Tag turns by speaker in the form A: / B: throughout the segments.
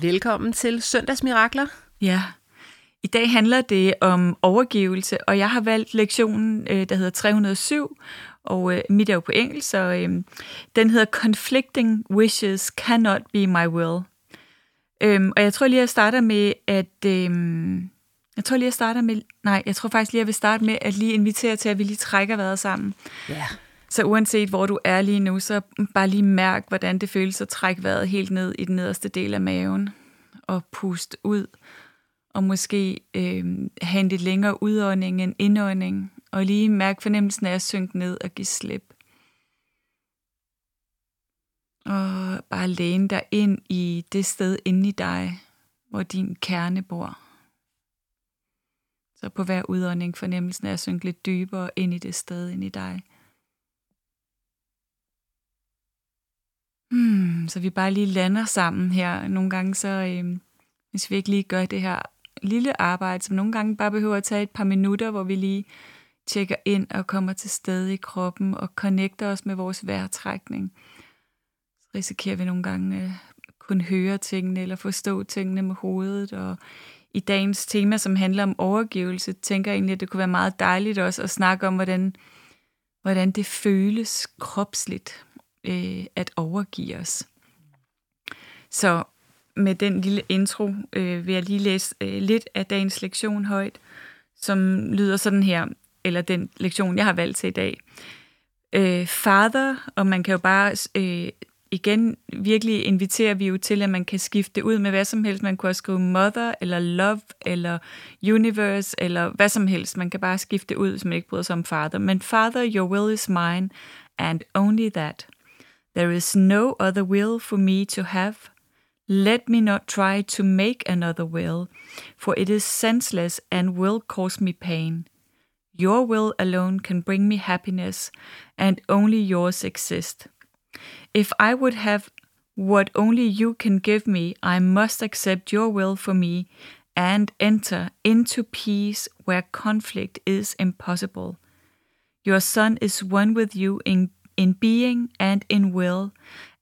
A: Velkommen til Søndagsmirakler.
B: Ja. I dag handler det om overgivelse, og jeg har valgt lektionen, øh, der hedder 307, og øh, mit er jo på engelsk, så øh, den hedder Conflicting Wishes Cannot Be My Will. Øhm, og jeg tror lige, jeg starter med, at... Øhm, jeg tror lige, jeg starter med... Nej, jeg tror faktisk lige, jeg vil starte med at lige invitere til, at vi lige trækker vejret sammen.
A: Ja.
B: Så uanset hvor du er lige nu, så bare lige mærk, hvordan det føles at trække vejret helt ned i den nederste del af maven. Og pust ud. Og måske øh, have en lidt længere udånding end indånding. Og lige mærk fornemmelsen af at synke ned og give slip. Og bare læne dig ind i det sted inde i dig, hvor din kerne bor. Så på hver udånding fornemmelsen af at synke lidt dybere ind i det sted ind i dig. Hmm, så vi bare lige lander sammen her. Nogle gange så, øhm, hvis vi ikke lige gør det her lille arbejde, som nogle gange bare behøver at tage et par minutter, hvor vi lige tjekker ind og kommer til stede i kroppen og connecter os med vores vejrtrækning, så risikerer vi nogle gange øh, kun høre tingene eller forstå tingene med hovedet. Og i dagens tema, som handler om overgivelse, tænker jeg egentlig, at det kunne være meget dejligt også at snakke om, hvordan, hvordan det føles kropsligt øh, at overgive os. Så med den lille intro øh, vil jeg lige læse øh, lidt af dagens lektion højt, som lyder sådan her, eller den lektion, jeg har valgt til i dag. Øh, father, og man kan jo bare øh, igen virkelig inviterer vi jo til, at man kan skifte det ud med hvad som helst. Man kunne også skrive mother, eller love, eller universe, eller hvad som helst. Man kan bare skifte det ud, hvis man ikke bryder sig om father. Men father, your will is mine, and only that. There is no other will for me to have. Let me not try to make another will, for it is senseless and will cause me pain. Your will alone can bring me happiness, and only yours exists. If I would have what only you can give me, I must accept your will for me and enter into peace where conflict is impossible. Your Son is one with you in, in being and in will,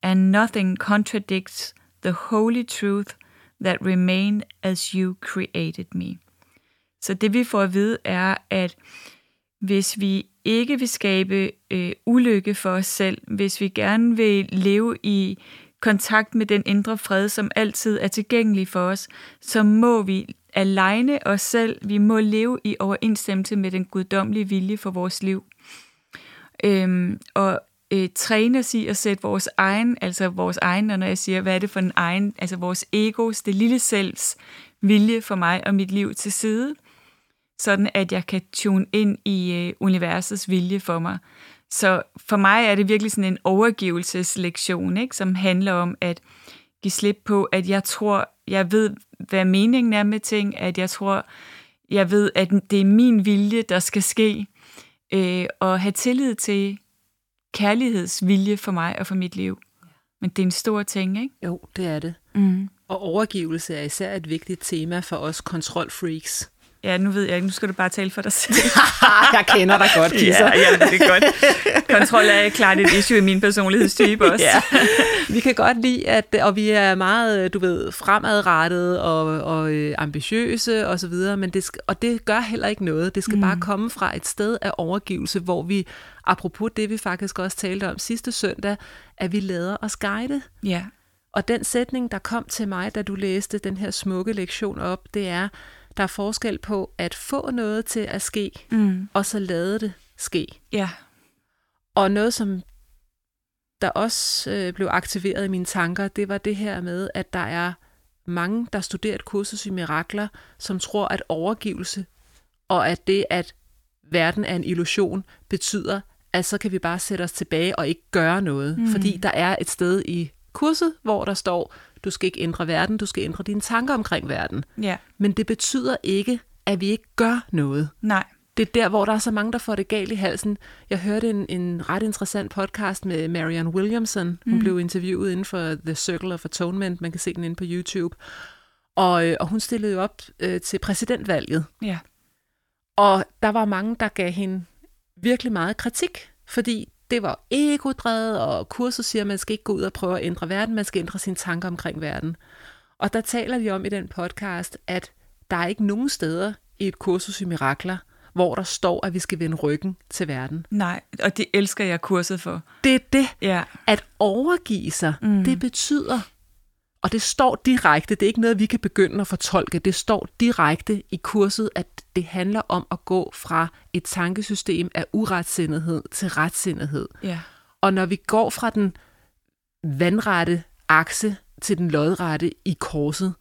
B: and nothing contradicts the holy truth that remain as you created me. Så det vi får at vide er, at hvis vi ikke vil skabe øh, ulykke for os selv, hvis vi gerne vil leve i kontakt med den indre fred, som altid er tilgængelig for os, så må vi alene os selv, vi må leve i overensstemmelse med den guddommelige vilje for vores liv. Øhm, og øh, træne os i at sætte vores egen, altså vores egen, og når jeg siger, hvad er det for en egen, altså vores egos, det lille selvs vilje for mig og mit liv til side, sådan at jeg kan tune ind i øh, universets vilje for mig. Så for mig er det virkelig sådan en overgivelseslektion, ikke? som handler om at give slip på, at jeg tror, jeg ved, hvad meningen er med ting, at jeg tror, jeg ved, at det er min vilje, der skal ske, øh, og have tillid til kærlighedsvilje for mig og for mit liv. Men det er en stor ting, ikke?
C: Jo, det er det.
B: Mm.
C: Og overgivelse er især et vigtigt tema for os kontrolfreaks.
B: Ja, nu ved jeg ikke, nu skal du bare tale for dig selv.
A: jeg kender dig godt, Kisser.
B: ja, det er godt. Kontrol er klart et issue i min personlighedstype også.
C: Ja. Vi kan godt lide, at, og vi er meget, du ved, fremadrettet og, og øh, ambitiøse og så videre, men det skal, og det gør heller ikke noget. Det skal mm. bare komme fra et sted af overgivelse, hvor vi, apropos det, vi faktisk også talte om sidste søndag, at vi lader os guide.
B: ja.
C: Og den sætning, der kom til mig, da du læste den her smukke lektion op, det er, Der er forskel på at få noget til at ske,
B: Mm.
C: og så lade det ske.
B: Ja.
C: Og noget, som der også øh, blev aktiveret i mine tanker, det var det her med, at der er mange, der studerer et kursus i mirakler, som tror, at overgivelse og at det, at verden er en illusion, betyder, at så kan vi bare sætte os tilbage og ikke gøre noget. Mm. Fordi der er et sted i kurset, hvor der står, du skal ikke ændre verden, du skal ændre dine tanker omkring verden.
B: Ja.
C: Men det betyder ikke, at vi ikke gør noget
B: Nej.
C: det er der, hvor der er så mange, der får det galt i halsen. Jeg hørte en, en ret interessant podcast med Marianne Williamson. Hun mm. blev interviewet inden for The Circle of Atonement. Man kan se den inde på YouTube. Og, øh, og hun stillede jo op øh, til præsidentvalget.
B: Ja.
C: Og der var mange, der gav hende virkelig meget kritik, fordi det var egodrevet, og kurset siger, at man skal ikke gå ud og prøve at ændre verden, man skal ændre sine tanker omkring verden. Og der taler de om i den podcast, at der er ikke nogen steder i et kursus i mirakler, hvor der står, at vi skal vende ryggen til verden.
B: Nej. Og det elsker jeg kurset for.
C: Det er det,
B: Ja.
C: at overgive sig, mm. det betyder, og det står direkte, det er ikke noget, vi kan begynde at fortolke, det står direkte i kurset, at det handler om at gå fra et tankesystem af uretsindighed til retsindighed.
B: Ja.
C: Og når vi går fra den vandrette akse til den lodrette i korset,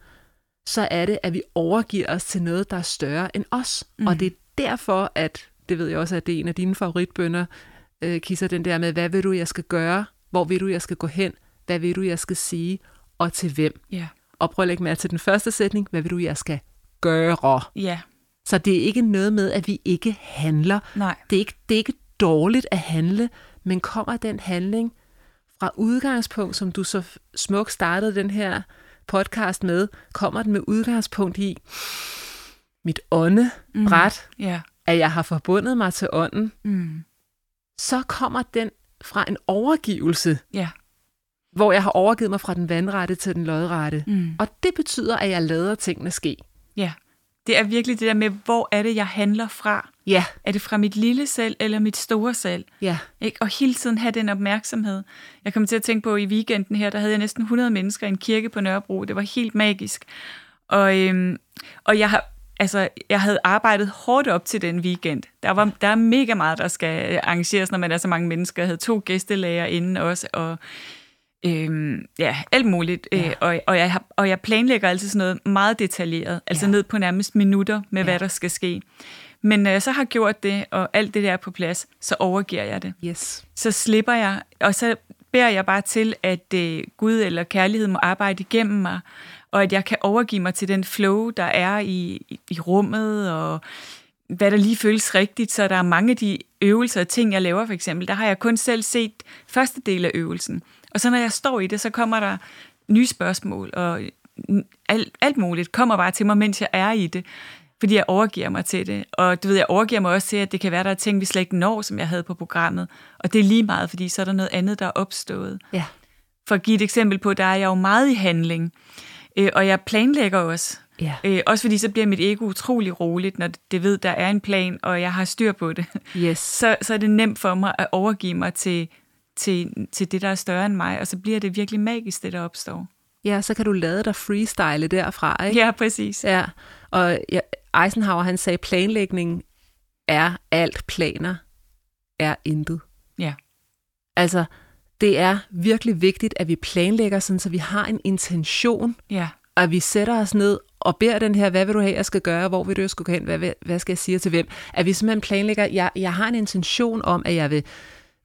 C: så er det, at vi overgiver os til noget, der er større end os. Mm. Og det er derfor, at, det ved jeg også, at det er en af dine favoritbønder, øh, Kisser, den der med, hvad vil du, jeg skal gøre? Hvor vil du, jeg skal gå hen? Hvad vil du, jeg skal sige? Og til hvem?
B: Ja.
C: Og prøv at lægge mærke til den første sætning, hvad vil du, jeg skal gøre?
B: Ja.
C: Så det er ikke noget med, at vi ikke handler.
B: Nej.
C: Det er ikke, det er ikke dårligt at handle, men kommer den handling fra udgangspunkt, som du så f- smukt startede den her podcast med, kommer den med udgangspunkt i mit åndebræt, mm.
B: Ja.
C: at jeg har forbundet mig til ånden,
B: Mm.
C: så kommer den fra en overgivelse,
B: Ja.
C: hvor jeg har overgivet mig fra den vandrette til den lodrette.
B: Mm.
C: Og det betyder, at jeg lader tingene ske.
B: Ja. Det er virkelig det der med, hvor er det, jeg handler fra?
C: Ja,
B: Er det fra mit lille selv eller mit store selv?
C: ja.
B: Ikke? Og hele tiden have den opmærksomhed. Jeg kom til at tænke på, i weekenden her, der havde jeg næsten 100 mennesker i en kirke på Nørrebro. Det var helt magisk. Og, øhm, og jeg, har, altså, jeg havde arbejdet hårdt op til den weekend. Der, var, der er mega meget, der skal øh, arrangeres, når man er så mange mennesker. Jeg havde to gæstelæger inden også, og øhm, ja, alt muligt. Ja. Øh, og, og, jeg, har- og jeg planlægger altid sådan noget meget detaljeret, altså ned på nærmest minutter med, hvad der skal ske. Men når jeg så har gjort det, og alt det der er på plads, så overgiver jeg det
C: Yes.
B: så slipper jeg, og så beder jeg bare til, at øh, Gud eller kærlighed må arbejde igennem mig, og at jeg kan overgive mig til den flow, der er i, i, i rummet, og hvad der lige føles rigtigt. Så der er mange af de øvelser og ting, jeg laver for eksempel, der har jeg kun selv set første del af øvelsen. Og så når jeg står i det, så kommer der nye spørgsmål, og alt, alt muligt kommer bare til mig, mens jeg er i det. Fordi jeg overgiver mig til det. Og du ved, jeg overgiver mig også til, at det kan være, der er ting, vi slet ikke når, som jeg havde på programmet. Og det er lige meget, fordi så er der noget andet, der er opstået.
C: Ja.
B: For at give et eksempel på, der er jeg jo meget i handling. Øh, og jeg planlægger også.
C: Ja.
B: Øh, også fordi så bliver mit ego utrolig roligt, når det ved, der er en plan, og jeg har styr på det.
C: Yes.
B: Så, så er det nemt for mig at overgive mig til, til, til det, der er større end mig. Og så bliver det virkelig magisk, det der opstår.
C: Ja, så kan du lade dig freestyle derfra, ikke?
B: Ja, præcis.
C: Ja, og ja, Eisenhower han sagde, planlægning er alt, planer er intet.
B: Ja.
C: Altså, det er virkelig vigtigt, at vi planlægger sådan, så vi har en intention,
B: Ja.
C: og at vi sætter os ned og beder den her, hvad vil du have, jeg skal gøre, hvor vil du, jeg skal gå hen, hvad, vil- hvad skal jeg sige til hvem? At vi simpelthen planlægger, jeg, jeg har en intention om, at jeg vil,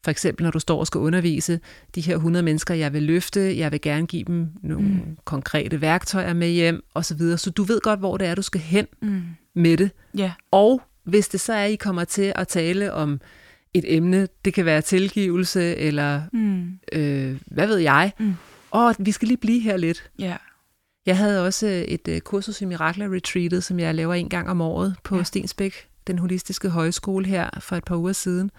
C: for eksempel når du står og skal undervise de her 100 mennesker, jeg vil løfte, jeg vil gerne give dem nogle mm. konkrete værktøjer med hjem, osv. Så du ved godt, hvor det er, du skal hen mm. med det.
B: Ja.
C: Og hvis det så er, at I kommer til at tale om et emne, det kan være tilgivelse, eller
B: Mm.
C: øh, hvad ved jeg, mm. og vi skal lige blive her lidt.
B: Ja.
C: Jeg havde også øh, et øh, kursus i Mirakler Retreatet, som jeg laver en gang om året på ja. Stensbæk, den holistiske højskole her for et par uger siden.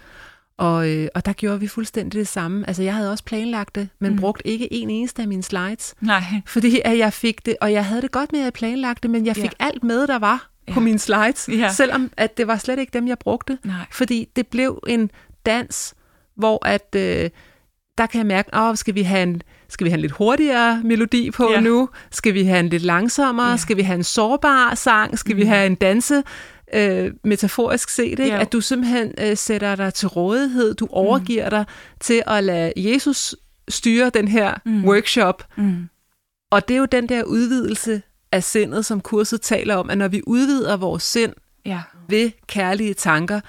C: Og, øh, og der gjorde vi fuldstændig det samme. Altså jeg havde også planlagt det, men mm. brugt ikke en eneste af mine slides,
B: Nej.
C: fordi at jeg fik det, og jeg havde det godt med at jeg planlagde det, men jeg
B: Ja.
C: fik alt med, der var på mine slides,
B: Ja.
C: selvom at det var slet ikke dem, jeg brugte.
B: Nej.
C: Fordi det blev en dans, hvor at øh, der kan jeg mærke, åh, skal vi have en, skal vi have en lidt hurtigere melodi på
B: Ja.
C: ja. nu? Skal vi have en lidt langsommere?
B: Ja. Mhm.
C: Ja. Skal vi have en sårbar sang? Skal mm. vi have en danse? Øh, metaforisk set, ikke?
B: Ja. Mhm.
C: at du simpelthen øh, sætter dig til rådighed, du overgiver mm. dig til at lade Jesus styre den her
B: Mm.
C: mm. workshop,
B: Mm.
C: og det er jo den der udvidelse af sindet, som kurset taler om, at når vi udvider vores sind
B: Ja,
C: ved kærlige tanker,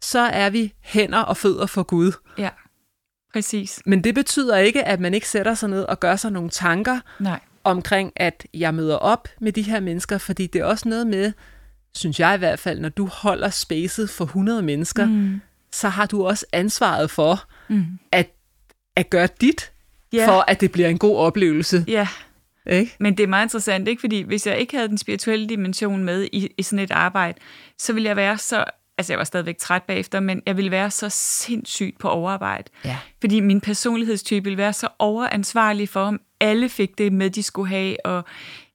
C: så er vi hænder og fødder for Gud.
B: ja. Præcis.
C: Men det betyder ikke, at man ikke sætter sig ned og gør sig nogle tanker
B: Nej.
C: omkring, at jeg møder op med de her mennesker, fordi det er også noget med, synes jeg i hvert fald, når du holder spacet for 100 mennesker,
B: Mm.
C: så har du også ansvaret for
B: Mm.
C: at, at gøre dit,
B: Ja.
C: for at det bliver en god oplevelse.
B: Ja,
C: Ikke?
B: men det er meget interessant, ikke? Fordi hvis jeg ikke havde den spirituelle dimension med i, i sådan et arbejde, så ville jeg være så... Altså, jeg var stadigvæk træt bagefter, men jeg ville være så sindssygt på overarbejde.
C: Ja.
B: Fordi min personlighedstype ville være så overansvarlig for, om alle fik det med, de skulle have, og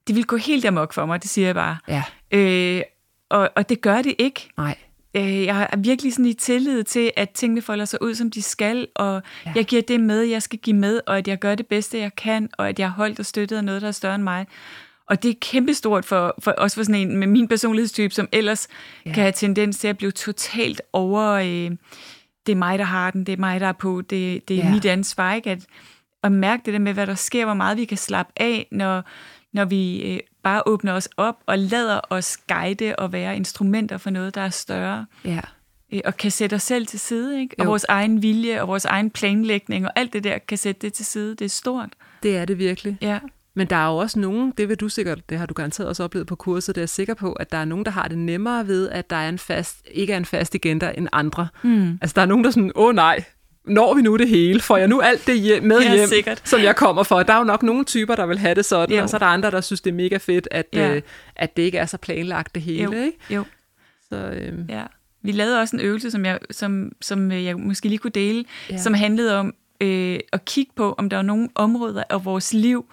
B: det ville gå helt amok for mig, det siger jeg bare.
C: Ja,
B: Øh, og, og det gør det ikke.
C: nej.
B: Øh, jeg er virkelig sådan i tillid til, at tingene folder sig ud, som de skal, og ja.
C: Ja.
B: jeg giver det med, jeg skal give med, og at jeg gør det bedste, jeg kan, og at jeg har holdt og støttet af noget, der er større end mig. Og det er kæmpestort for, for også for sådan en med min personlighedstype, som ellers ja. kan have tendens til at blive totalt over, øh, det er mig, der har den, det er mig, der er på, det, det er ja.
C: Ja.
B: mit ansvar, ikke? At, at mærke det der med, hvad der sker, hvor meget vi kan slappe af, når, når vi øh, bare åbner os op og lader os guide og være instrumenter for noget, der er større
C: Ja.
B: øh, og kan sætte os selv til side, ikke? Og
C: Jo.
B: vores egen vilje og vores egen planlægning og alt det der kan sætte det til side. Det er stort.
C: Det er det virkelig.
B: Ja.
C: Men der er jo også nogen, det vil du sikkert, det har du garanteret også oplevet på kurset, det er jeg sikker på, at der er nogen, der har det nemmere ved, at der er en fast, ikke er en fast agenda end andre. Mm. Altså der er nogen, der er sådan, åh nej, når vi nu det hele? Får jeg nu alt det hjem, med
B: Ja,
C: hjem,
B: sikkert.
C: som jeg kommer for? Der er jo nok nogle typer, der vil have det sådan,
B: Jo.
C: og så er der andre, der synes, det er mega fedt, at,
B: Ja.
C: ja. øh, at det ikke er så planlagt det hele.
B: Jo.
C: Ikke?
B: Jo.
C: Så, øh,
B: Ja. Vi lavede også en øvelse, som jeg, som, som øh, jeg måske lige kunne dele, ja.
C: Ja.
B: som handlede om øh, at kigge på, om der er nogle områder af vores liv,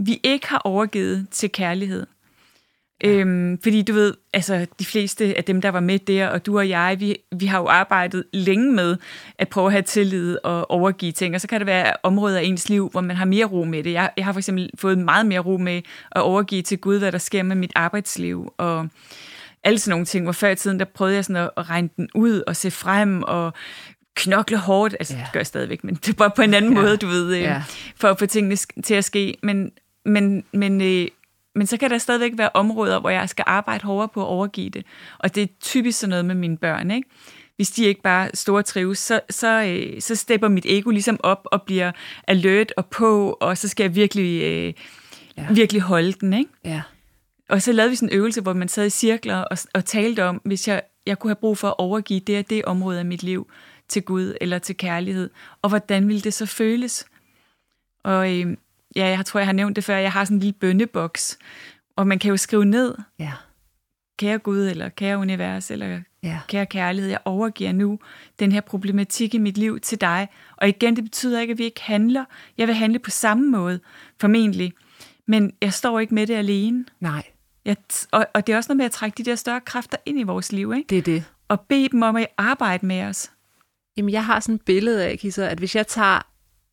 B: vi ikke har overgivet til kærlighed. Øhm, fordi du ved, altså de fleste af dem, der var med der, og du og jeg, vi, vi har jo arbejdet længe med at prøve at have tillid og overgive ting, og så kan det være områder af ens liv, hvor man har mere ro med det. Jeg, jeg har for eksempel fået meget mere ro med at overgive til Gud, hvad der sker med mit arbejdsliv, og alle sådan nogle ting, hvor før i tiden, der prøvede jeg sådan at, at regne den ud og se frem og knokle hårdt, altså ja.
C: Ja.
B: det gør jeg stadigvæk, men det er bare på en anden ja. måde, du ved, øh, ja.
C: Ja.
B: for at få tingene sk- til at ske, men, men, men, øh, men så kan der stadigvæk være områder, hvor jeg skal arbejde hårdere på at overgive det, og det er typisk sådan noget med mine børn, ikke? Hvis de ikke bare store trives, så, så, øh, så stepper mit ego ligesom op og bliver alert og på, og så skal jeg virkelig, øh, ja.
C: Ja.
B: virkelig holde den, ikke?
C: ja.
B: Og så lavede vi sådan en øvelse, hvor man sad i cirkler og, og talte om, hvis jeg, jeg kunne have brug for at overgive det og det område af mit liv til Gud eller til kærlighed, og hvordan ville det så føles? Og øh, ja, jeg tror, jeg har nævnt det før, jeg har sådan en lille bønneboks, og man kan jo skrive ned,
C: Ja.
B: kære Gud, eller kære univers, eller
C: Ja.
B: kære kærlighed, jeg overgiver nu den her problematik i mit liv til dig. Og igen, det betyder ikke, at vi ikke handler. Jeg vil handle på samme måde, formentlig. Men jeg står ikke med det alene.
C: Nej,
B: Ja, t- og, og det er også noget med at trække de der større kræfter ind i vores liv, ikke?
C: det er det.
B: Og bede dem om at arbejde med os.
C: Jamen, jeg har sådan et billede af, Kisser, at hvis jeg tager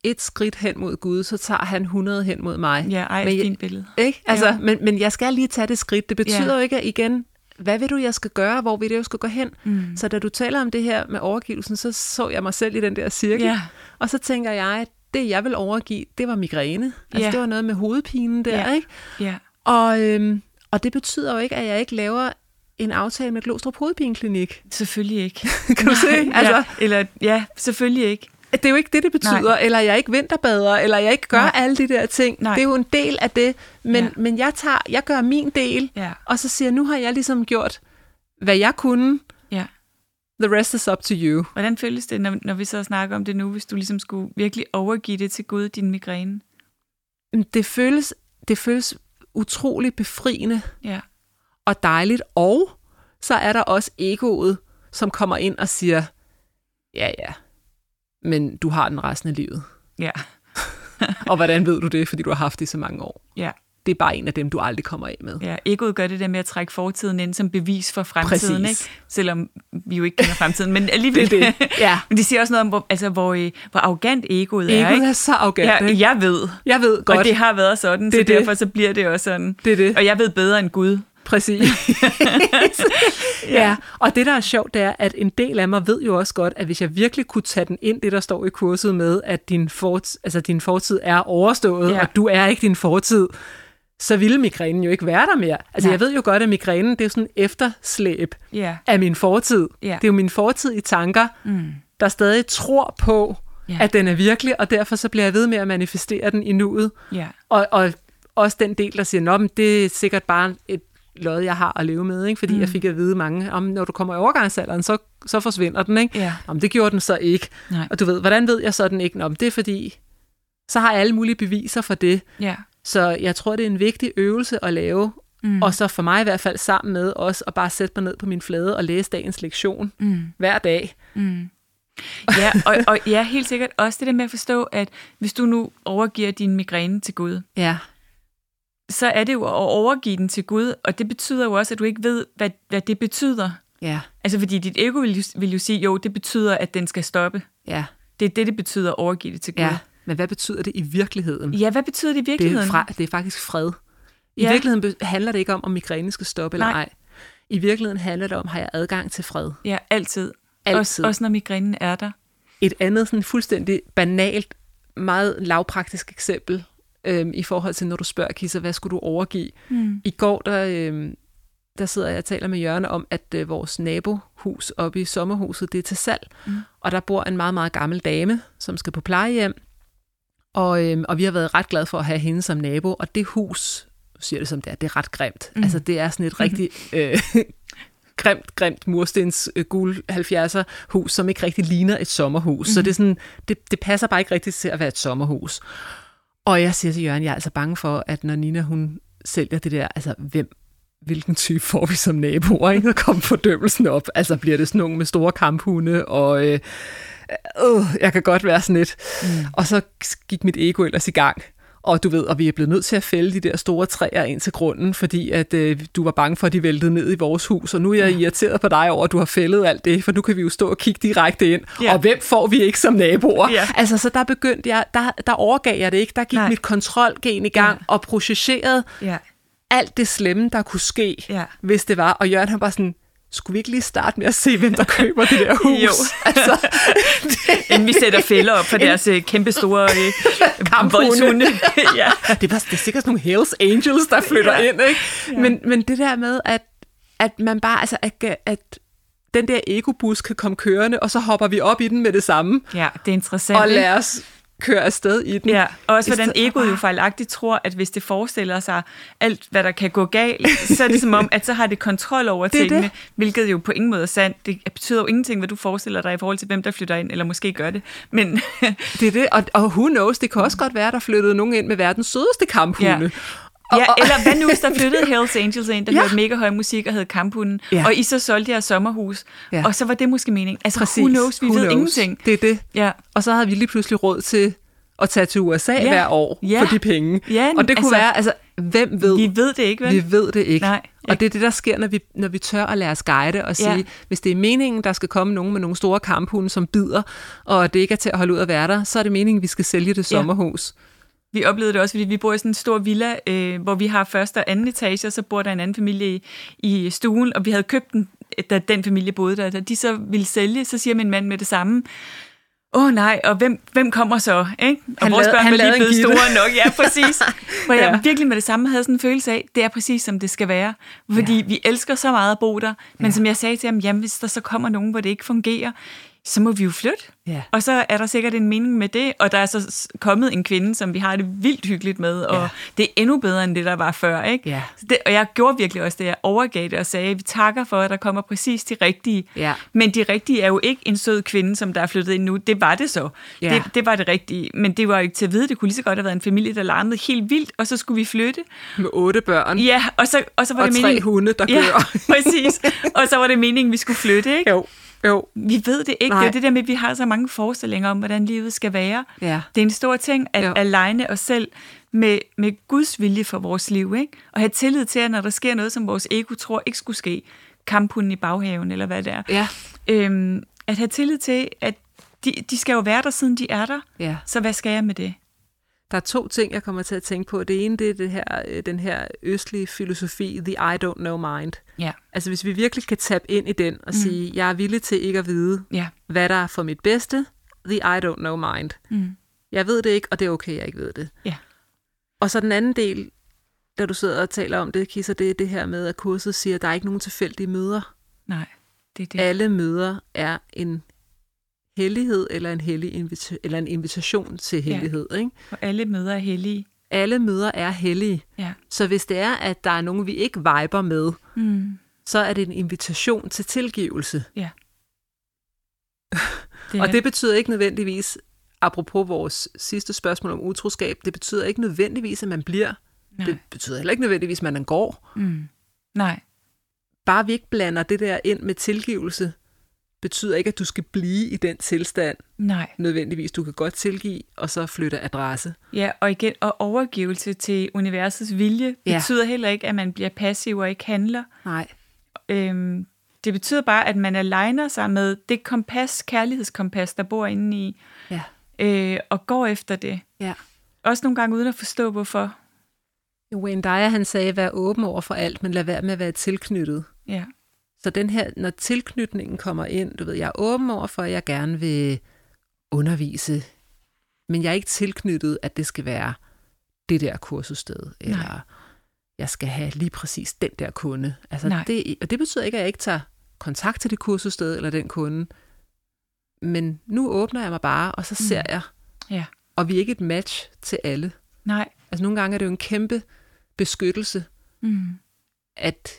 C: et skridt hen mod Gud, så tager han 100 hen mod mig.
B: Ja, ej,
C: Men jeg-
B: fint billede.
C: Ikke? Altså,
B: Jo.
C: men, men jeg skal lige tage det skridt. Det betyder
B: Ja.
C: jo ikke, at igen, hvad vil du, jeg skal gøre? Hvor vil det, jeg skal gå hen? Mm. Så da du taler om det her med overgivelsen, så så jeg mig selv i den der cirkel.
B: Ja.
C: Og så tænker jeg, at det, jeg vil overgive, det var migræne. Altså,
B: Ja.
C: det var noget med hovedpinen der,
B: Ja.
C: ikke?
B: Ja,
C: Og, øhm, og det betyder jo ikke, at jeg ikke laver en aftale med Glostrup Hovedpineklinik.
B: selvfølgelig ikke.
C: Kan du se?
B: Altså,
C: Altså-
B: ja, eller, ja, selvfølgelig ikke.
C: Det er jo ikke det, det betyder,
B: Nej.
C: Nej. eller jeg ikke vinterbader, eller jeg ikke gør
B: Nej.
C: Nej. alle de der ting.
B: Nej.
C: Det er jo en del af det, men,
B: Ja.
C: ja. men jeg, tager, jeg gør min del,
B: Ja,
C: og så siger jeg, nu har jeg ligesom gjort, hvad jeg kunne.
B: ja.
C: The rest is up to you.
B: Hvordan føles det, når, når vi så snakker om det nu, hvis du ligesom skulle virkelig overgive det til Gud, din migræne?
C: Men Det føles, det føles utrolig befriende
B: Ja,
C: og dejligt, og så er der også egoet, som kommer ind og siger, ja ja, men du har den resten af livet.
B: ja,
C: Og hvordan ved du det, fordi du har haft det i så mange år?
B: ja.
C: det er bare en af dem, du aldrig kommer af med.
B: Ja, egoet gør det der med at trække fortiden ind som bevis for fremtiden,
C: Præcis.
B: ikke? selvom vi jo ikke kender fremtiden, men alligevel.
C: Det er det, ja.
B: men det siger også noget om, hvor, altså, hvor, øh, hvor arrogant egoet, er.
C: Egoet
B: Ikke?
C: er så arrogant,
B: ja,
C: ikke?
B: Jeg ved,
C: Jeg ved godt,
B: og det har været sådan,
C: Det
B: så
C: er det.
B: derfor så bliver det også sådan.
C: Det er det.
B: Og jeg ved bedre end Gud.
C: Præcis. ja, og det der er sjovt, det er, at en del af mig ved jo også godt, at hvis jeg virkelig kunne tage den ind, det der står i kurset med, at din, fort, altså din fortid er overstået,
B: Ja.
C: ja. og du er ikke din fortid, så ville migrænen jo ikke være der mere. Altså
B: Nej.
C: jeg ved jo godt, at migrænen, det er jo sådan en efterslæb
B: Ja.
C: af min fortid.
B: Ja.
C: Det er jo min fortid i tanker,
B: Mm.
C: der stadig tror på,
B: Ja.
C: at den er virkelig, og derfor så bliver jeg ved med at manifestere den i nuet.
B: Ja.
C: Og, og også den del, der siger, Nå, men det er sikkert bare et lod, jeg har at leve med, ikke? fordi mm. jeg fik at vide mange, om når du kommer i overgangsalderen, så, så forsvinder den. Ikke?
B: Ja.
C: Om det gjorde den så ikke.
B: Nej.
C: Og du ved, hvordan ved jeg så den ikke? Nå, men det er fordi, så har jeg alle mulige beviser for det.
B: Ja.
C: Så jeg tror, det er en vigtig øvelse at lave,
B: Mm.
C: og så for mig i hvert fald sammen med også at bare sætte mig ned på min flade og læse dagens lektion
B: Mm.
C: hver dag.
B: Mm. Ja, og, og ja, helt sikkert også det der med at forstå, at hvis du nu overgiver din migræne til Gud,
C: Ja,
B: så er det jo at overgive den til Gud, og det betyder jo også, at du ikke ved, hvad, hvad det betyder.
C: ja,
B: Altså fordi dit ego vil jo, vil jo sige, jo, det betyder, at den skal stoppe.
C: ja,
B: Det er det, det betyder at overgive det til Gud.
C: ja. Men hvad betyder det i virkeligheden?
B: ja hvad betyder det i
C: det
B: virkeligheden?
C: er, fra, det er faktisk fred. I
B: Ja.
C: ja. virkeligheden be- handler det ikke om, om migræne skal stoppe eller
B: Nej.
C: ej. I virkeligheden handler det om, har jeg adgang til fred?
B: Ja, altid.
C: Altid.
B: Også, også når migrænen er der.
C: Et andet sådan fuldstændig banalt, meget lavpraktisk eksempel øhm, i forhold til, når du spørger Kisser, hvad skulle du overgive?
B: Mm.
C: I går, der, øhm, der sidder jeg og taler med Jørgen om, at øh, vores nabohus oppe i sommerhuset, det er til salg.
B: Mm.
C: Mm. Og der bor en meget, meget gammel dame, som skal på plejehjem. Og, øhm, og vi har været ret glade for at have hende som nabo. Og det hus, nu siger jeg det som det er, det er ret grimt.
B: Mm.
C: Mm. Altså det er sådan et rigtig øh, grimt, grimt murstens øh, gul 70'er hus, som ikke rigtig ligner et sommerhus. Mm. Så det, er sådan, det, det passer bare ikke rigtigt til at være et sommerhus. Og jeg siger til Jørgen, jeg er altså bange for, at når Nina hun sælger det der, altså hvem, hvilken type får vi som naboer, ikke? Og kom fordømmelsen op. Altså bliver det sådan nogle med store kamphunde, og øh, øh, jeg kan godt være sådan lidt. Mm. Og så gik mit ego ellers i gang. Og du ved, og vi er blevet nødt til at fælde de der store træer ind til grunden, fordi at øh, du var bange for, at de væltede ned i vores hus, og nu er jeg irriteret på dig over, at du har fældet alt det, for nu kan vi jo stå og kigge direkte ind,
B: Ja.
C: og hvem får vi ikke som naboer?
B: Ja.
C: Altså, så der begyndte jeg, der, der overgav jeg det ikke, der gik
B: Nej.
C: Nej. mit kontrolgen i gang,
B: Ja.
C: ja. og processerede
B: Ja,
C: alt det slemme, der kunne ske,
B: Ja.
C: hvis det var. Og Jørgen han var sådan, skulle vi ikke lige starte med at se, hvem der køber det der hus?
B: Jo.
C: Altså,
B: inden vi sætter fælder op for deres øh, kæmpe store øh,
C: Kamphunde.
B: voldshunde. ja.
C: det, var, det er sikkert sådan nogle Hells Angels, der flytter
B: Ja.
C: ja. ind, ikke? Ja. Men, men det der med, at, at man bare, altså, at, at den der egobus kan komme kørende, og så hopper vi op i den med det samme,
B: ja, det er interessant.
C: og
B: ikke?
C: lader os køre afsted i den.
B: Ja, og også
C: I
B: hvordan
C: stedet for
B: egoet jo
C: bare-
B: fejlagtigt tror, at hvis det forestiller sig alt, hvad der kan gå galt, så er det som om, at så har det kontrol over
C: Det er
B: tingene,
C: det.
B: hvilket jo på ingen måde er sandt. Det betyder jo ingenting, hvad du forestiller dig i forhold til, hvem der flytter ind, eller måske gør det. Men
C: Det er det, og, og who knows, det kan også godt være, der flyttede nogen ind med verdens sødeste kamphunde.
B: Ja.
C: Ja.
B: ja, eller hvad nu, hvis der flyttede Hells Angels ind, der ja.
C: Ja.
B: hørte mega høj musik og hed Kamphunden, ja.
C: Ja.
B: og I så solgte jeres sommerhus, ja.
C: Ja.
B: og så var det måske meningen. Altså, Præcis. who knows, vi who ved knows. ingenting.
C: Det er det.
B: Ja.
C: Og så havde vi lige pludselig råd til at tage til USA
B: Ja.
C: ja. hver år
B: Ja.
C: for de penge.
B: Ja,
C: og det kunne
B: altså-
C: altså, være, altså, hvem ved?
B: Vi ved det ikke, vel?
C: Vi ved det ikke.
B: Nej, ikke.
C: Og det er det, der sker, når vi, når vi tør at lade os guide og
B: Ja.
C: sige, hvis det er meningen, der skal komme nogen med nogle store kamphunde, som bider, og det ikke er til at holde ud at være der, så er det meningen, vi skal sælge det
B: Ja.
C: sommerhus.
B: Vi oplevede det også, fordi vi bor i sådan en stor villa, øh, hvor vi har første og anden etage, og så bor der en anden familie i, i stuen, og vi havde købt den, da den familie boede der. Da de så ville sælge, så siger min mand med det samme, åh oh, nej, og hvem, hvem kommer så? Ikke? Og
C: Han
B: vores
C: lavede-
B: børn
C: han
B: var lige
C: lavede en
B: blevet
C: gitte.
B: store nok, ja, præcis. Hvor jeg
C: Ja.
B: virkelig med det samme havde sådan en følelse af, det er præcis som det skal være. Fordi ja. vi elsker så meget at bo der, men ja. som jeg sagde til ham, jamen hvis der så kommer nogen, hvor det ikke fungerer, så må vi jo flytte.
C: Ja.
B: Og så er der sikkert en mening med det, og der er så s- kommet en kvinde, som vi har det vildt hyggeligt med, og ja.
C: Ja.
B: det er endnu bedre end det, der var før. Ikke?
C: Ja.
B: Så Det, og jeg gjorde virkelig også det, jeg overgav det og sagde, vi takker for, at der kommer præcis de rigtige.
C: Ja.
B: Men de rigtige er jo ikke en sød kvinde, som der er flyttet ind nu. Det var det så.
C: Ja.
B: Det, det var det rigtige. Men det var jo ikke til at vide. Det kunne lige så godt have været en familie, der larmede helt vildt, og så skulle vi flytte.
C: Med otte børn
B: Ja, og så, og så var
C: og
B: det
C: tre
B: meningen...
C: hunde, der
B: Ja,
C: gør.
B: præcis. Og så var det meningen, vi skulle flytte, ikke?
C: Jo, jo.
B: Vi ved det ikke. Nej.
C: Nej.
B: Det er det der med, at vi har så mange forestillinger om, hvordan livet skal være.
C: Ja.
B: Det er en stor ting at
C: Jo.
B: aligne os selv med, med Guds vilje for vores liv, ikke? Og have tillid til, at når der sker noget, som vores ego tror ikke skulle ske, kamphunden i baghaven, eller hvad det er,
C: Ja,
B: øhm, at have tillid til, at de, de skal jo være der, siden de er der,
C: ja.
B: så hvad skal jeg med det?
C: Der er to ting, jeg kommer til at tænke på. Det ene, det er det her, øh, den her østlige filosofi, the I don't know mind.
B: Ja,
C: Altså hvis vi virkelig kan tappe ind i den og mm. sige, jeg er villig til ikke at vide,
B: ja,
C: hvad der er for mit bedste, the I don't know mind.
B: mm.
C: Jeg ved det ikke, og det er okay, jeg ikke ved det.
B: Ja.
C: Og så den anden del, da du sidder og taler om det, Kisser, det er det her med, at kurset siger, at der er ikke nogen tilfældige møder.
B: nej, det er det.
C: Ja. Alle møder er en hellighed eller en, hellig invita- eller en invitation til hellighed. Ja. Ikke?
B: Og alle møder er hellige.
C: Alle møder er hellige.
B: Ja.
C: Så hvis det er, at der er nogen, vi ikke viber med,
B: Mm.
C: så er det en invitation til tilgivelse.
B: Det
C: Og
B: er-
C: det betyder ikke nødvendigvis, apropos vores sidste spørgsmål om utroskab, det betyder ikke nødvendigvis, at man bliver.
B: nej.
C: Det betyder heller ikke nødvendigvis, at man går.
B: Mm. nej,
C: bare vi ikke blander det der ind med tilgivelse, betyder ikke, at du skal blive i den tilstand
B: nej.
C: nødvendigvis. Du kan godt tilgive, og så flytte adresse.
B: Ja, og igen, og overgivelse til universets vilje
C: Ja.
B: ja. betyder heller ikke, at man bliver passiv og ikke handler.
C: Nej.
B: Øhm, det betyder bare, at man aligner sig med det kompas, kærlighedskompas, der bor inde i,
C: Ja.
B: øh, og går efter det.
C: ja.
B: Også nogle gange uden at forstå, hvorfor.
C: Wayne Dyer, han sagde, vær åben over for alt, men lad være med at være tilknyttet.
B: Ja,
C: Så den her, når tilknytningen kommer ind, du ved, jeg er åben over for, at jeg gerne vil undervise, men jeg er ikke tilknyttet, at det skal være det der kursussted, eller Nej. jeg skal have lige præcis den der kunde. Altså
B: Nej.
C: det, og det betyder ikke, at jeg ikke tager kontakt til det kursussted eller den kunde, men nu åbner jeg mig bare, og så ser mm. jeg,
B: ja.
C: og vi er ikke et match til alle.
B: Nej.
C: Altså nogle gange er det jo en kæmpe beskyttelse,
B: Mm.
C: at,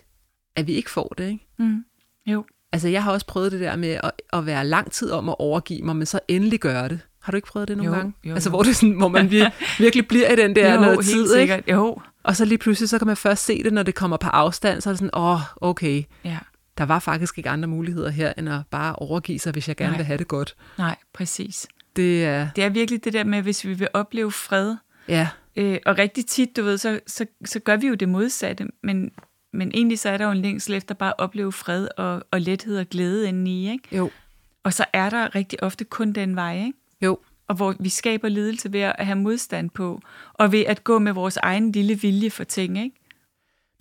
C: at vi ikke får det, ikke?
B: Mm. Jo.
C: Altså, jeg har også prøvet det der med at, at være lang tid om at overgive mig, men så endelig gøre det. Har du ikke prøvet det nogle
B: Jo,
C: gange?
B: jo, jo.
C: altså, hvor, det er sådan, hvor man vir, virkelig bliver i den der
B: jo,
C: noget
B: helt
C: tid, ikke?
B: sikkert. Jo.
C: Og så lige pludselig, så kan man først se det, når det kommer på afstand, så er det sådan, åh, oh, okay,
B: Ja.
C: der var faktisk ikke andre muligheder her, end at bare overgive sig, hvis jeg gerne Nej.
B: Nej.
C: vil have det godt.
B: Nej, præcis.
C: Det er,
B: Det er virkelig det der med, hvis vi vil opleve fred,
C: ja,
B: Øh, og rigtig tit, du ved, så, så, så gør vi jo det modsatte, men, men egentlig så er der jo en længsel efter bare at opleve fred og, og lethed og glæde indeni, ikke?
C: jo,
B: Og så er der rigtig ofte kun den vej, ikke?
C: jo,
B: Og hvor vi skaber lidelse ved at have modstand på, og ved at gå med vores egen lille vilje for ting, ikke?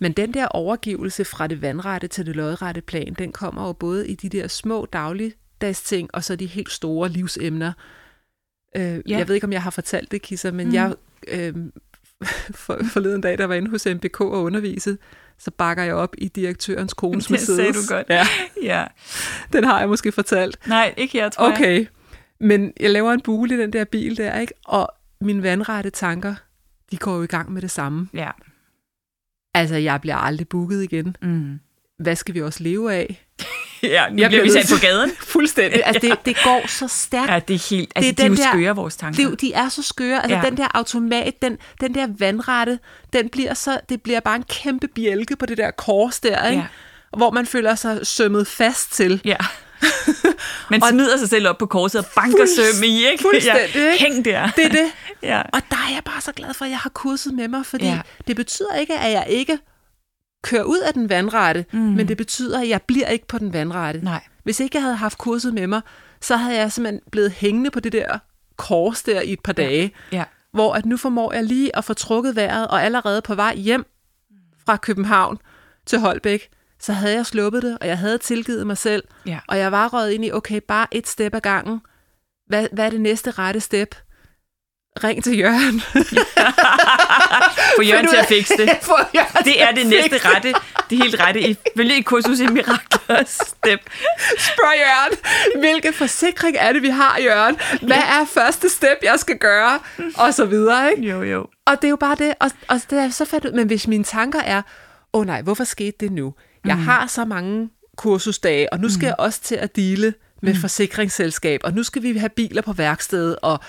C: Men den der overgivelse fra det vandrette til det lodrette plan, den kommer jo både i de der små dagligdags ting, og så de helt store livsemner. Øh, ja. Jeg ved ikke, om jeg har fortalt det, Kisser, men mm. jeg øh, for, forleden dag, der var inde hos MBK og undervise, så bakker jeg op i direktørens kones
B: Det sagde
C: Mercedes.
B: du godt.
C: Ja,
B: Ja.
C: den har jeg måske fortalt.
B: Nej, ikke jeg, tror jeg.
C: Okay, men jeg laver en bule i den der bil der, ikke? og mine vandrette tanker, de går jo i gang med det samme.
B: Ja.
C: Altså, jeg bliver aldrig booket igen.
B: Mm.
C: Hvad skal vi også leve af?
B: Ja, nu
C: Jeg
B: jeg
C: bliver
B: bliver vi
C: nødt
B: sat
C: til-
B: på gaden.
C: Fuldstændig. Altså, det, det går så stærkt.
B: Ja, det er helt... Altså, det er
C: den
B: de er
C: der-
B: jo skøre, vores tanker.
C: Det, er jo- de er så skøre. Altså, ja.
B: Ja.
C: den der automat, den, den der vandrette, den bliver så, det bliver bare en kæmpe bjælke på det der kors der, ikke?
B: Ja.
C: hvor man føler sig sømmet fast til.
B: Ja. Man smider sig selv op på korset og banker
C: Fuldst-
B: søm i, ikke?
C: fuldstændig,
B: Ja.
C: ikke?
B: Hæng der.
C: Det er det.
B: Ja.
C: Og der er jeg bare så glad for, at jeg har kurset med mig, fordi ja.
B: Ja.
C: det betyder ikke, at jeg ikke kører ud af den vandrette, mm. men det betyder, at jeg bliver ikke på den vandrette.
B: Nej.
C: Hvis ikke jeg havde haft kurset med mig, så havde jeg simpelthen blevet hængende på det der kors der i et par dage.
B: Ja.
C: hvor at nu formår jeg lige at få trukket vejret, og allerede på vej hjem fra København til Holbæk, så havde jeg sluppet det, og jeg havde tilgivet mig selv,
B: Ja.
C: og jeg var røget ind i, okay, bare et step ad gangen. Hvad, hvad er det næste rette step? Ring til Jørgen.
B: Få Jørgen
C: Find
B: til
C: ud
B: at fikse det.
C: af- Få Jørgen
B: Det er det
C: til at
B: næste
C: fikse
B: rette, det helt rette, ifølge et kursus i miraklers step.
C: Spørg Jørgen, hvilken forsikring er det, vi har, Jørgen? Hvad er første step, jeg skal gøre? Og så videre, ikke?
B: Jo, jo.
C: Og det er jo bare det, og, og det er så fandt ud, men hvis mine tanker er, åh oh nej, hvorfor skete det nu? Jeg mm.
B: Mhm.
C: har så mange kursusdage, og nu skal mm. jeg også til at dele med
B: Mhm.
C: mm. forsikringsselskab, og nu skal vi have biler på værksted, og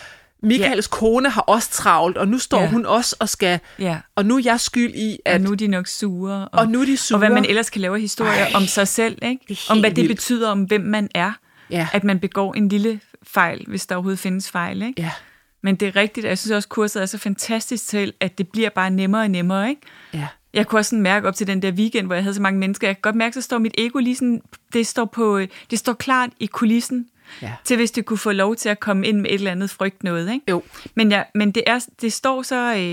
C: Michaels yeah. kone har også travlt, og nu står
B: Ja.
C: yeah. hun også og skal,
B: Ja.
C: og nu er jeg skyld i, at
B: Og nu er de nok sure.
C: Og nu er de sure.
B: Og hvad man ellers kan lave af historier
C: Ej,
B: om sig selv, ikke?
C: det er
B: om
C: helt
B: hvad det
C: vildt.
B: betyder om, hvem man er.
C: Ja.
B: At man begår en lille fejl, hvis der overhovedet findes fejl. Ikke?
C: ja,
B: Men det er rigtigt, og jeg synes også, kurset er så fantastisk til, at det bliver bare nemmere og nemmere, ikke?
C: Ja.
B: Jeg kunne også sådan mærke op til den der weekend, hvor jeg havde så mange mennesker, jeg kan godt mærke, så står mit ego lige sådan, det står, på, øh, det står klart i kulissen,
C: Ja.
B: til hvis det kunne få lov til at komme ind med et eller andet frygt noget, ikke?
C: Jo.
B: Men, ja, men det, er, det står så, øh,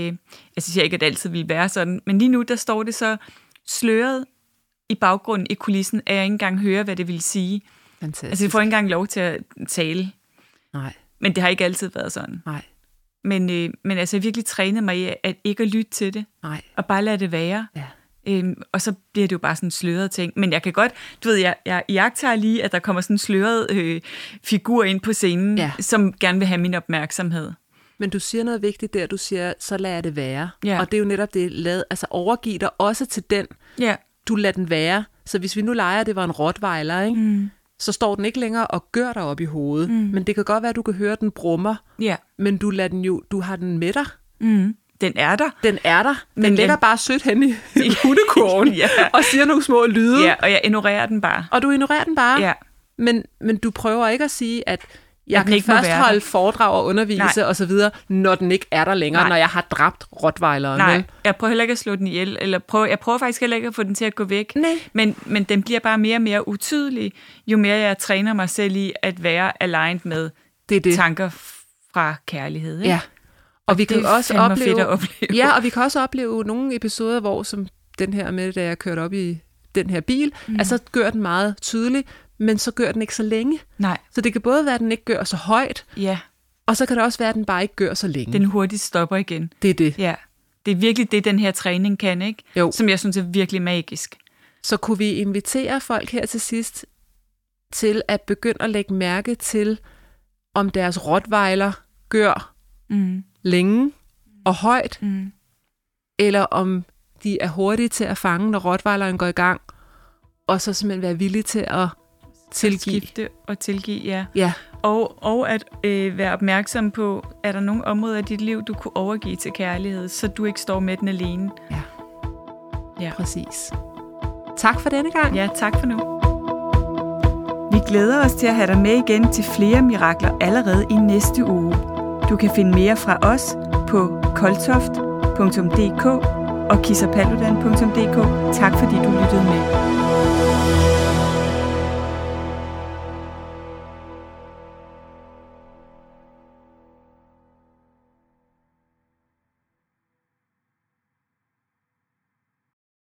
B: jeg synes ikke, at det altid ville være sådan, men lige nu, der står det så sløret i baggrunden i kulissen, at jeg ikke engang hører, hvad det vil sige.
C: Fantastisk.
B: Altså, jeg får ikke engang lov til at tale,
C: Nej,
B: men det har ikke altid været sådan.
C: nej,
B: Men, øh, men altså, jeg har virkelig trænet mig i at ikke at lytte til det,
C: nej.
B: og bare lade det være.
C: Ja.
B: Øhm, og så bliver det jo bare sådan en sløret ting. Men jeg kan godt, du ved, jeg, jeg jagter lige, at der kommer sådan en sløret øh, figur ind på scenen,
C: Ja.
B: som gerne vil have min opmærksomhed.
C: Men du siger noget vigtigt der, du siger, så lad det være.
B: Ja.
C: Og det er jo netop det, lad, altså overgiv dig også til den,
B: Ja,
C: du lader den være. Så hvis vi nu leger, at det var en rottweiler, ikke? Mm. så står den ikke længere og gør dig op i hovedet. Mm. Men det kan godt være, at du kan høre, at den brummer,
B: ja.
C: men du, lader den jo, du har den med dig.
B: Mm. Den er der.
C: Den er der. Den
B: Men-
C: ligger bare sødt hen i hundekurven
B: Ja.
C: og siger nogle små lyde.
B: Ja, og jeg ignorerer den bare.
C: Og du ignorerer den bare.
B: Ja.
C: Men, men du prøver ikke at sige, at jeg
B: At den
C: kan
B: ikke må
C: først
B: være
C: holde
B: der.
C: foredrag og undervise og så videre, når den ikke er der længere,
B: Nej.
C: Nej. når jeg har dræbt Rottweileren.
B: Nej,
C: vel?
B: jeg prøver heller ikke at slå den ihjel, eller prøver, jeg prøver faktisk heller ikke at få den til at gå væk.
C: Nej.
B: Men, men den bliver bare mere og mere utydelig, jo mere jeg træner mig selv i at være aligned med
C: Det er det.
B: tanker fra kærlighed. Ikke?
C: Ja. Og vi kan
B: det er
C: jo også
B: fandme
C: opleve,
B: fedt at opleve.
C: Ja, og vi kan også opleve nogle episoder, hvor som den her med, da jeg kørte op i den her bil, mm. altså gør den meget tydelig, men så gør den ikke så længe.
B: Nej,
C: Så det kan både være, at den ikke gør så højt,
B: ja,
C: og så kan det også være, at den bare ikke gør så længe.
B: den hurtigt stopper igen.
C: Det er det.
B: Ja, det er virkelig det, den her træning kan, ikke?
C: Jo.
B: Som jeg synes er virkelig magisk.
C: Så kunne vi invitere folk her til sidst til at begynde at lægge mærke til, om deres rottweiler gør
B: Mm.
C: længe og højt,
B: Mm.
C: eller om de er hurtige til at fange, når rottweileren går i gang, og så simpelthen være villige til at tilgive.
B: Skifte og tilgive, ja.
C: Ja,
B: Og, og at øh, være opmærksom på, er der nogle områder i dit liv, du kunne overgive til kærlighed, så du ikke står med den alene.
C: ja,
B: Ja.
C: præcis. Tak for denne gang.
B: Ja, tak for nu. Vi glæder os til at have dig med igen til flere mirakler allerede i næste uge. Du kan finde mere fra os på koltoft.dk og kissapaludan.dk. Tak fordi du lyttede med.